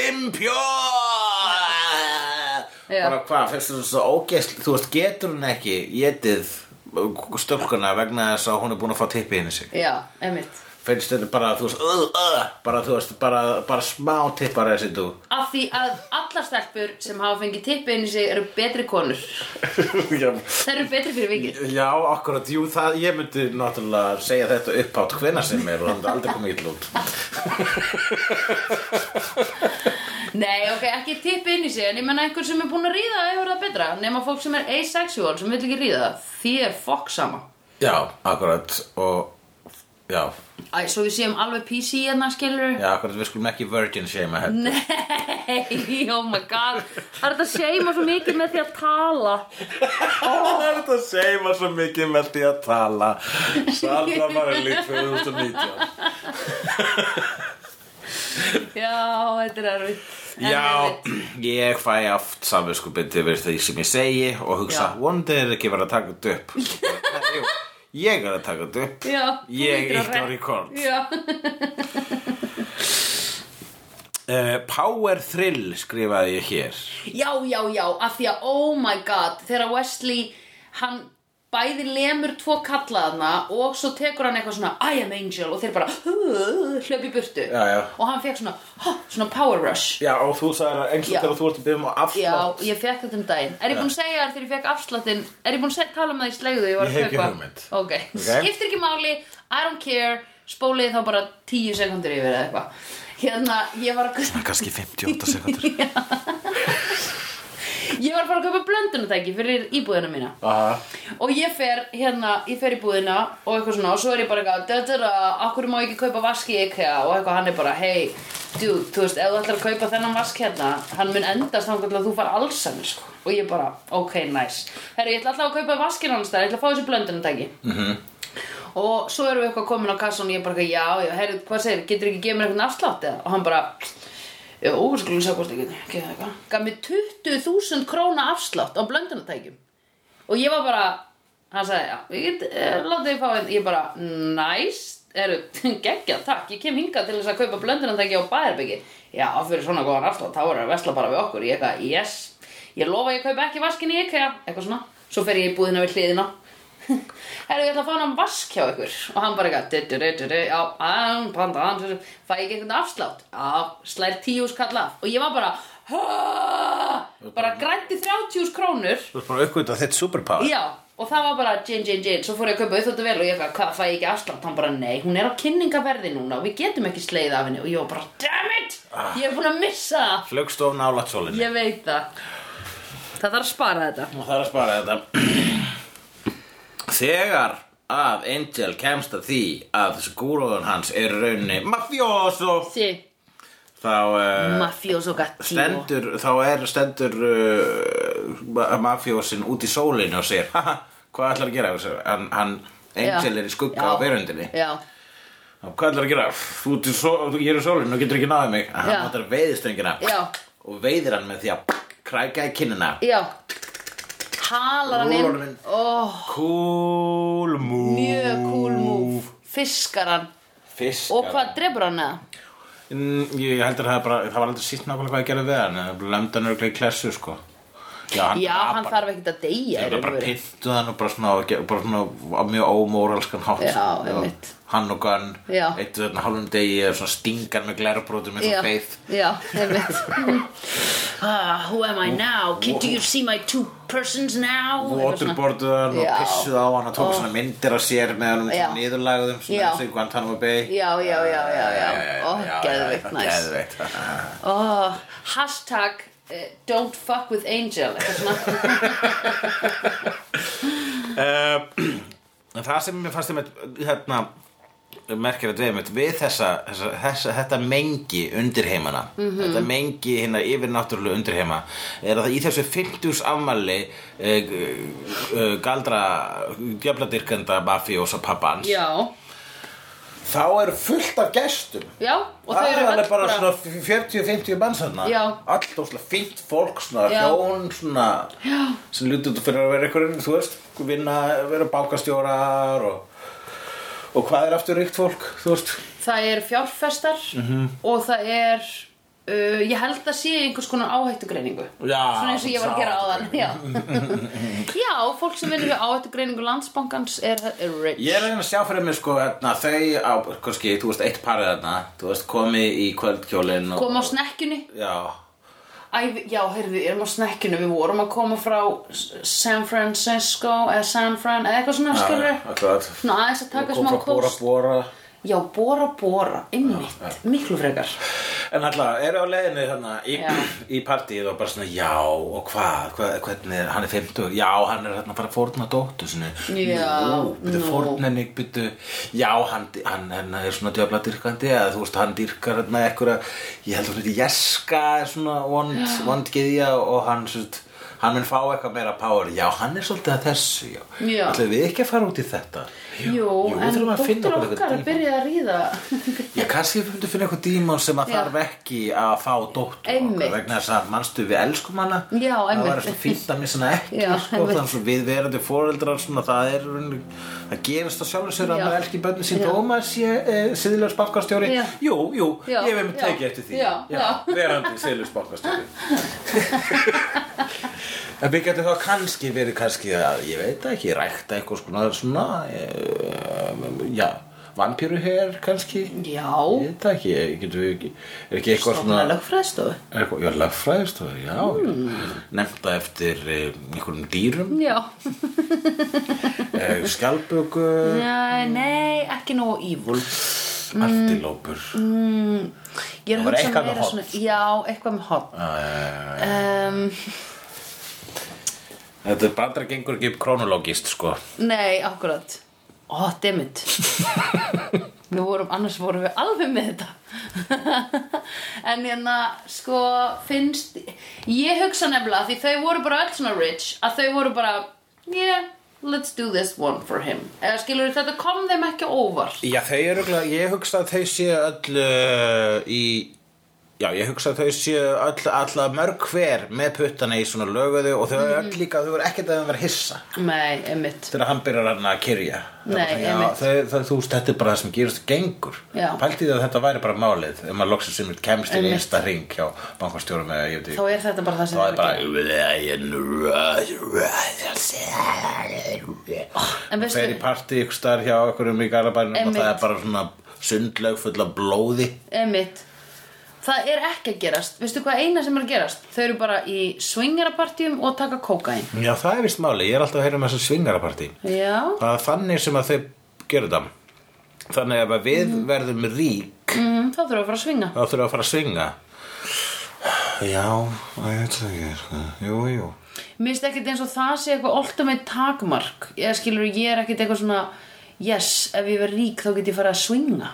impure.
Já.
Bara hvað, finnst þú svo ógeðsl, þú veist, getur hún ekki getið stölkuna vegna þess að hún er búin að fá tippið inn í sig.
já, emitt
Finnst þetta bara, þú veist, uh, uh, bara, þú veist, bara, bara smá tippar þessi þú.
af því að allar stelpur sem hafa fengið tippi inn í sig eru betri konur
Já,
þær eru betri fyrir vikið
Já, akkurat, jú, það, ég myndi náttúrulega segja þetta upphátt hvena sem er og það myndi aldrei komið illa út.
nei, ok, ekki tippi inn í sig en ég menna einhver sem er búin að ríða hefur það betra nema fólk sem er asexual sem vil ekki ríða því er fokk sama
Já, akkurat og já,
Æ, svo við séum alveg PC hérna, skilur
já, akkurat við skulum ekki virgin shame að þetta
Nei, oh my god Það er þetta að seima svo mikið með því að tala
Það er þetta að seima svo mikið með því að tala Sandra var í líf 2019
Já, þetta er erfitt En erfitt.
Já, ég fæ aft samvinskupið við því sem ég segi og hugsa,
Já.
vonandi er ekki verið að taka þetta upp Svo bara, "Nei, jú, Ég er að taka þetta upp
Já, þú
Ég
lítur að
ítti á
rek-
rekord
Já,
uh, Power Thrill skrifaði ég hér
já, já, já, af því að oh my god Þegar Wesley, hann bæði lemur tvo kallaðna og svo tekur hann eitthvað svona I am angel og þeir bara hlöp í burtu
Já, já.
og hann fekk svona, "Ha," svona power rush
Já, og þú sagði að eins
Já.
þú ert að byrja um afslátt
Já, ég fekk þetta um daginn Er ég búin að segja þér þegar ég fekk afsláttinn Er ég búin að seg- tala um það í slegðu Ég, var að
Ég hef ekki
kaupa?
hugmynd.
Ok, skiptir ekki máli I don't care Spólið þá bara 10 sekundur yfir eða eitthvað Hérna, ég var að
Kannski 58 sekundur
Ég var að fara að kaupa blöndunatæki fyrir íbúðina mína
Aha
Og ég fer hérna, ég fer í búðina og eitthvað svona og svo er ég bara eitthvað, þetta er að, akkur má ég ekki kaupa vask í IKEA og eitthvað hann er bara, hey, dude, þú veist, ef þú ætlar að kaupa þennan vask hérna, hann mun endast þannig að þú far allsann, sko. Og ég bara, ok, nice. Herru, ég ætla alltaf að kaupa vaskinn hans þar, ég ætla að fá þessi blöndunatæki. Og svo erum við eitthvað komin á kassan og ég bara, eitthvað, já, já, herru, hvað segir, getur ekki gefið mér eitthvað afslátt eða? Og hann bara, já, skulum sjá hvort það getur, getur eitthvað. Gaf mér 20.000 króna afslátt á blöndunatækjum. Og ég var bara, hann sagði, já, ég get, uh, láta þig fá einn, ég bara, næst, eru, geggjað, takk, ég kem hingað til þess að kaupa blöndunandæki á bæðarbyggi. Já, fyrir svona góðan afslátt, þá voru að vesla bara við okkur, ég eitthvað, yes, ég lofa að ég kaupa ekki vaskin í IKEA, eitthvað svona, svo fer ég í búðina við hliðina. Herru, ég ætla að fá hann vask hjá ykkur og hann bara eitthvað, du, du, du, du, já, hann, panda, hann, fæ ég ekki einhvern afslátt, já, slær tíu skall af og ég var bara, "Ha!" bara grætti 30 krónur
Þú ert bara að uppgöta þitt superpower
Já, og það var bara gin, gin, gin Svo fór ég að kaupa auðvitað vel og ég eitthvað, hvað, fæ ég ekki afslátt? Hann bara, nei, hún er á kynningaverði núna og við getum ekki sleið af henni Og ég var bara, damn it, ég er búin að missa það
Flugstof nálægt sólinni
Ég veit það Það þarf að spara þetta
Og það er að spara þetta Þegar að Angel kemst að því að skúróðun hans er í rauninni mafjóso
Sí,
þá uh,
mafjós og gatti
stendur, þá er stendur uh, ma- mafjósin út í sólinni og segir haha, hvað ætlar að gera þessu? Hann, hann Angel er í skugga á verundinni
Já,
hvað ætlar að gera? Þú ert í só, þú- ég er í sólinni og getur ekki náðið mig hann
Já.
notar veiðstöngina
Já.
og veiðir hann með því að kræka í kinnina
já Halar hann
Rúlar hann
inn
inn.
Ó,
Cool move
mjög cool move Fiskar hann
Fiskar
Og hvað, drefur hann eða?
Mm, Ég heldur að það, bara, það var aldrei sýtt nákvæmlega hvað ég gerði við hann Það lömd hann örglega í klessu sko Já, hann
já,
drap
hann
hann.
þarf ekkert að deyja
Ég
í
er
raun og
bara
veru.
pintu hann og bara svona, bara svona á mjög ómóralskan hátt sko.
Já, einmitt.
Hann og Gunn,
Já.
eitt og þarna hálfum degi og svona stingar með glerbrotum eins
Já,
og beið
já, einmitt ah, Who am I now? Can, do you see my two persons now? Eitthvað svona.
Waterboarduð hann og
Já.
pissuð á hann og tók svona myndir af sér með hann
Já.
um nýðurlagðum
Já.
svona eins og Guantanamo Bay Eh,
Já, já, já, já, já Ó, geðveikt, næs
Geðveikt
Ó, Oh, Hashtag eh, Don't fuck with Angel eitthvað svona.
uh, en það sem mér fannst einmitt hérna, merkir að dveimitt við þessa, þessa, þessa, þetta mengi undirheimana
Mhm.
þetta mengi hérna yfirnáttúrulega undirheima er að það í þessu 50s afmæli uh, uh, galdra djöfladyrkenda mafíós og pappans
Já,
þá er fullt af gestum
já Og þau
Það er
eru
alveg
öll
bara svona 40-50 manns þarna
Já.
Allt óslega fínt fólk, svona
Já.
hjón, svona Já. sem lítið út fyrir að vera einhverjum, þú veist vinna, vera bákastjórar og, og hvað er aftur ríkt fólk, þú veist
Það er fjárfestar
Mhm.
og það er uh, ég held að sé einhvers konar áhættugreiningu
Já,
svona eins og ég var að gera áðan já. já, fólk sem vinnur við áhættugreiningu landsbankans er, er rich
Ég er að reyna að sjá fyrir mér sko hérna, þau á, kannski, þú veist, eitt parið þarna þú veist, komi í kvöldkjólin og,
koma á snekkjunni
Já,
Æ, við- já, heyrðu, við erum á snekkjunni við vorum að koma frá S- San Francisco eða San Fran eða eitthvað svona skilur
akkurat
Ná, aðeins að taka
Kom
smá
frá Bora
kóst
Bora
Já, bora bora, einmitt, miklu frekar
En alltaf, eru á leiðinni þarna í,
Já.
í partíið og bara svona já og hvað, hvað hvernig er, hann er 50 já, hann er þarna að fara að fórna dóttu sinni
Já,
byrju
nú.
fórnenni, byrju já, hann, hann, hann er svona djöfla dyrkandi eða þú veist, hann dyrkar þarna eitthvað ég held að hún heiti Jeska er svona vond, vond geðja og hann svona Hann mun fá eitthvað meira power, já, hann er svolítið að þessu, já.
Já.
Ætlum við ekki að fara út í þetta?
Jú,
við
en
þurfum að finna
dóttir
okkur
okkar
eitthvað
er byrjað að ríða
Já, kannski við fundum finna eitthvað dímon sem að
Já.
þarf ekki að fá dóttur
Einmitt.
okkur vegna þess að mannstu við elskum hana
Já,
það
einmitt.
var svona fínt að missa hana ekki
Já,
sko,
einmitt.
þannig að við verandi foreldrar svona, það er rauninu- það gerist að sjálfur sér að
Já.
maður elski börnin sín
Já.
þó maður sé eh, síðlega spankastjóri
Já.
jú, jú,
Já,
ég hef einmitt
já.
tekið eftir því
Já, já.
verandi síðlega spankastjóri en við getum þá kannski verið kannski að, ég veit það ekki, rækta eitthvað svona, svona eh, já, vampíruher kannski Ég
Já,
veit það ekki, eh, getum við ekki Er ekki eitthvað svona
stofna lögfræðstofu
er eitthvað, Já, lagfræðist og já mm. Nefnda eftir eh, einhverjum dýrum
Já
eh, Skjálböku
Nei, nei, ekki nógu ívul
Artilópur
Ég er
Það
að hugsa
var eitthvað með
meira
horn.
svona Já, eitthvað með hot
eh,
um,
Þetta bandra gengur ekki upp krónológist sko
Nei, akkurat Ó, oh, demmit Við vorum, annars vorum við alveg með þetta En hérna, sko, finnst Ég hugsa nefnilega, því þau voru bara öll svona rich Að þau voru bara Yeah, let's do this one for him Eða skilur þetta kom þeim ekki óvart
Já, þau eru glæð, ég hugsa að þau séu öll uh, í Já, ég hugsa að þau séu öll alltaf mörg hver með puttana í svona löguðu og þau eru
Mhm.
öll líka, þau eru ekkert að þau vera hissa
Nei, emmitt
þegar hann byrjar hann að kyrja
Nei, einmitt.
það, þú veist, þetta er bara það sem gerist gengur
Já.
pælti því að þetta væri bara málið ef maður loksins sem kemst í
Einmitt.
einsta ring hjá bankastjórum eða ég veit
Þá
ekki
er þetta bara það sem
þá
þau
er hérna
eru að gera. en
bara
Ah, veistu-
fer í partí ykkur starf hjá okkur um í garabænum og
Einmitt.
það er bara svona sundlaug full af blóði
Einmitt Það er ekki að gerast, veistu hvað eina sem er að gerast? Þau eru bara í swingerapartjum og taka kókain
já það er vist máli, ég er alltaf að heyra um þessu svingarapartí
Já,
það er þannig sem að þau gerðu það þannig að ef við
Mhm.
verðum rík
mm, þá þurfum við að fara að svinga
þá þurfum við að fara að svinga já, að ég veit það ekki sko. jú, jú
Mér finnst ekkert eins og það sé eitthvað ultimate takmark Ég skilur, ég er ekkert eitthvað svona Yes, ef ég verð rík þá get ég fara að swinga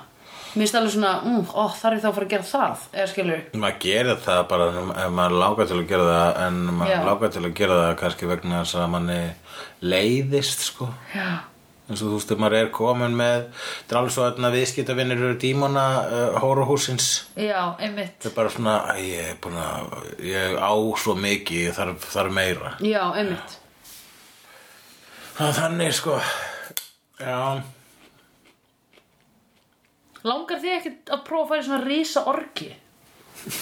Mér finnst alveg svona, mm, ó, þarf ég þá að fara að gera það Eða skilur,
maður gerir það bara ef maður lágar til að gera það en maður
Já.
lágar til að gera það kannski vegna þess að manni leiðist sko
já,
eins og þú veist, ef maður er komin með dráls og þarna viðskiptavinnir eru dímona uh, hóruhúsins
já, einmitt
það er bara svona, æ, ég er búin að ég á svo mikið, ég þarf, þarf meira
Já, einmitt
það er þannig sko já,
Langar þið ekkert að prófa að fara í svona risa orgi?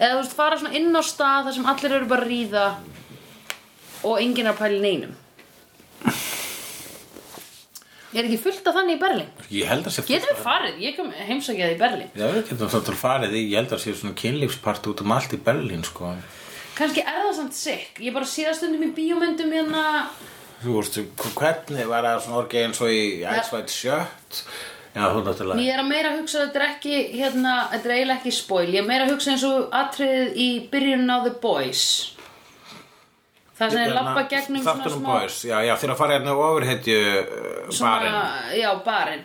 eða þú veist fara svona inn á stað þar sem allir eru bara að ríða og enginn er að pæla í neinum er ekki fullt af þannig í Berlín
Ég held að sé
getum við farið, ég kom heimsækja það í Berlín
Já, við getum þetta farið í, ég held að sé svona kynlífspart út um allt í Berlín, sko
kannski er það samt sikk ég bara síðast stundum í bíómyndum hérna
Þú veist, hvernig var það svona orgið eins og í Ice White Shirt Já, þú náttúrulega
ég er að meira hugsa að þetta er ekki hérna, þetta er eiginlega ekki spoil ég er meira að hugsa eins og atriðið í byrjun á The Boys það sem er lappa gegnum svona
Hérna, Þáttunum
smá-
boys, já, já, þegar að fara hérna og ofurhetju uh, barinn
svona, já, barinn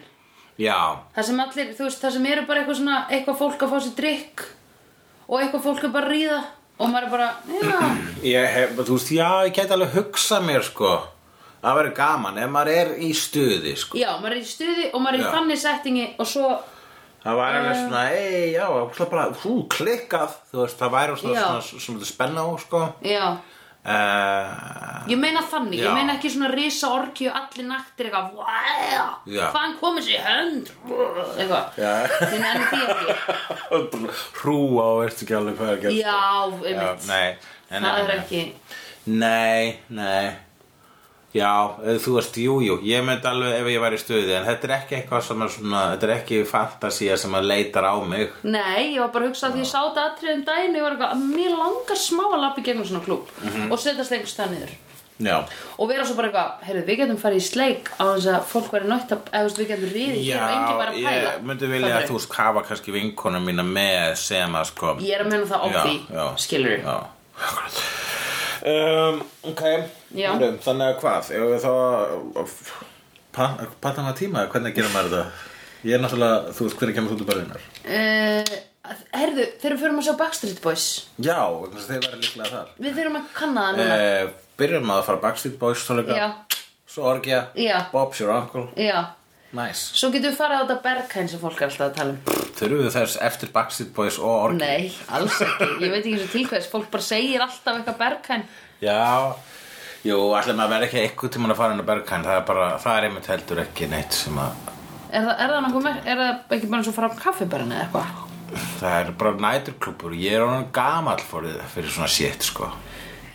Já,
Það sem allir, þú veist, það sem eru bara eitthvað svona eitthvað fólk að fá sér drikk og eitthvað fólk er bara að ríða og maður er bara, já,
ég hef, þú veist, já, ég gæti alveg hugsað mér, sko Það verður gaman, ef maður er í stuði, sko
já, maður er í stuði og maður er
Já.
í þannig settingi og svo
Það væri alveg svona, ei, já, ókslega bara, hú, klikkað, þú veist, það væri svona,
Já.
svona, svona, svona spenna á, sko.
já,
Uh,
ég meina þannig
Já.
ég meina ekki svona risa orki og allir naktir eitthvað, wow,
Já.
hvaðan komið sér í hönd eitthvað,
Já.
ég nenni því ekki
hrúa og veist ekki alveg hvað er sko. gert.
já, einmitt,
nei, nei, nei,
það er
nei.
ekki
Nei, nei. Já, eh, þú veist, jú, jú, ég myndi alveg ef ég væri í stuði, en þetta er ekki eitthvað sem er svona, þetta er ekki fantasía sem að leitar á mig.
Nei, ég var bara að hugsa að því ég sá þetta atriðum daginn og ég var eitthvað, að mér langar smá að lappa í gegnum svona klúb
Mhm.
og setjast einhvers stað niður
Já.
og vera svo bara eitthvað, heyrðu, við getum farið í sleik á þess að fólk væri nátt að, eða þú veist, við getum riðið hér og enginn væri að pæla
ég myndi vilja að
Fattarðu?
þú skafa kannski vinkona mína með sem að sko
Ég er að meina það á
Já,
því,
já.
skilur við
Já, akkurat um, Ok,
Já.
Heyrðu, þannig að hvað Ef við þá pa- Panta maður tíma, hvernig gerum maður þetta? Ég er náttúrulega, þú veist hvernig kemur þú til barðinnar
uh, Heyrðu, þegar við förum að sjá Backstreet Boys
Já, vegna þess að þeir verður líklega þar
Við þurfum að kanna það núna
uh, Byrjum að fara Backstreet Boys tónleika
Já.
Svo Orgia
Já.
Bob's Your Uncle
Já,
Nice
svo getum við farið á þetta berghain sem fólk er alltaf að tala um
Þurfum við þess eftir Backstreet Boys og Orgia
Nei, alls ekki, ég veit ekki eins og til hvers, fólk bara segir alltaf eitthvað berghain
Já, jú, allir maður verður ekki eitthvað tímann að fara inn á Berghain það er bara, það er einmitt heldur ekki neitt sem að
Er, það, er, það nokkuð mer- er það ekki bara eins og fara á kaffibarinn eða eitthvað?
það er bara næturklubur ég er honum gamall fyrir, fyrir svona shit sko.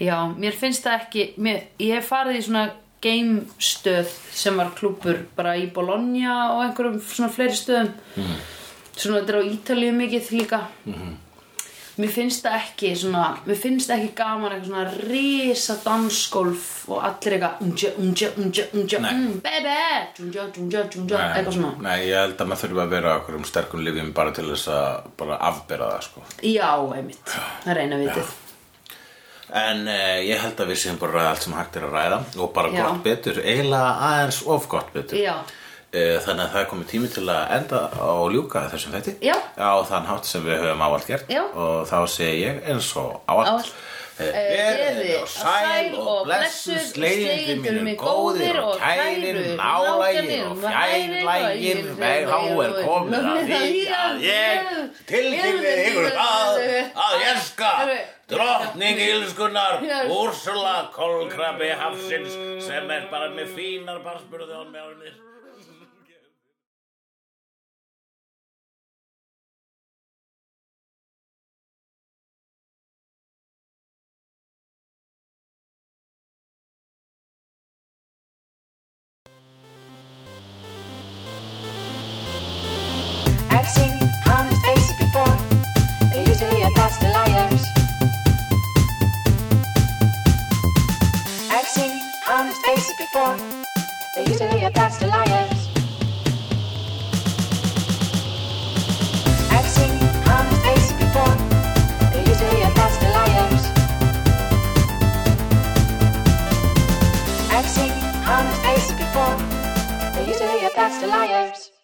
Já, mér finnst það ekki, mér, ég hef farið í svona gamestöð sem var klúpur bara í Bologna og einhverjum svona fleiri stöðum
Mhm.
svona þetta er á Ítalíu mikið líka mér finnst það ekki svona, mér finnst það ekki gaman eitthvað svona risa dansgolf og allir eitthvað umtja, umtja, umtja, umtja,
Nei.
um, baby umtja, umtja, umtja, eitthvað svona
nei, ég held að maður þurfi að vera okkur um sterkum lifjum bara til þess að bara afbera það sko.
Já, einmitt, það er eina vitið
en eh, ég held að við séum bara að ræða allt sem hægt er að ræða og bara
Já.
gott betur, eiginlega aðeins of gott betur
Já.
Eh, Þannig að það er komið tími til að enda og ljúka þessum þetta
Já.
Á þann hátt sem við höfum ávallt gert
Já.
Og þá segi ég eins og ávallt
Ávallt.
eh,
Verið
Verið og sæl og blessuð Slegir
slegjendur
mínir góðir og kærir Nálægir og fjærlægir Þá er komið að því að ég Tilkynni ykkur það að ég skal Drottning Ílskunnar Úrsula Kolkrabi Hafsins Sem er bara með fínar barspurði á mjálnir
I've seen honest faces before. They're usually a pass of liars. I've seen honest faces before. They're usually a pass of liars. I've seen honest faces before. They're usually a pass of liars. I've seen honest faces before. They're usually a pass of liars.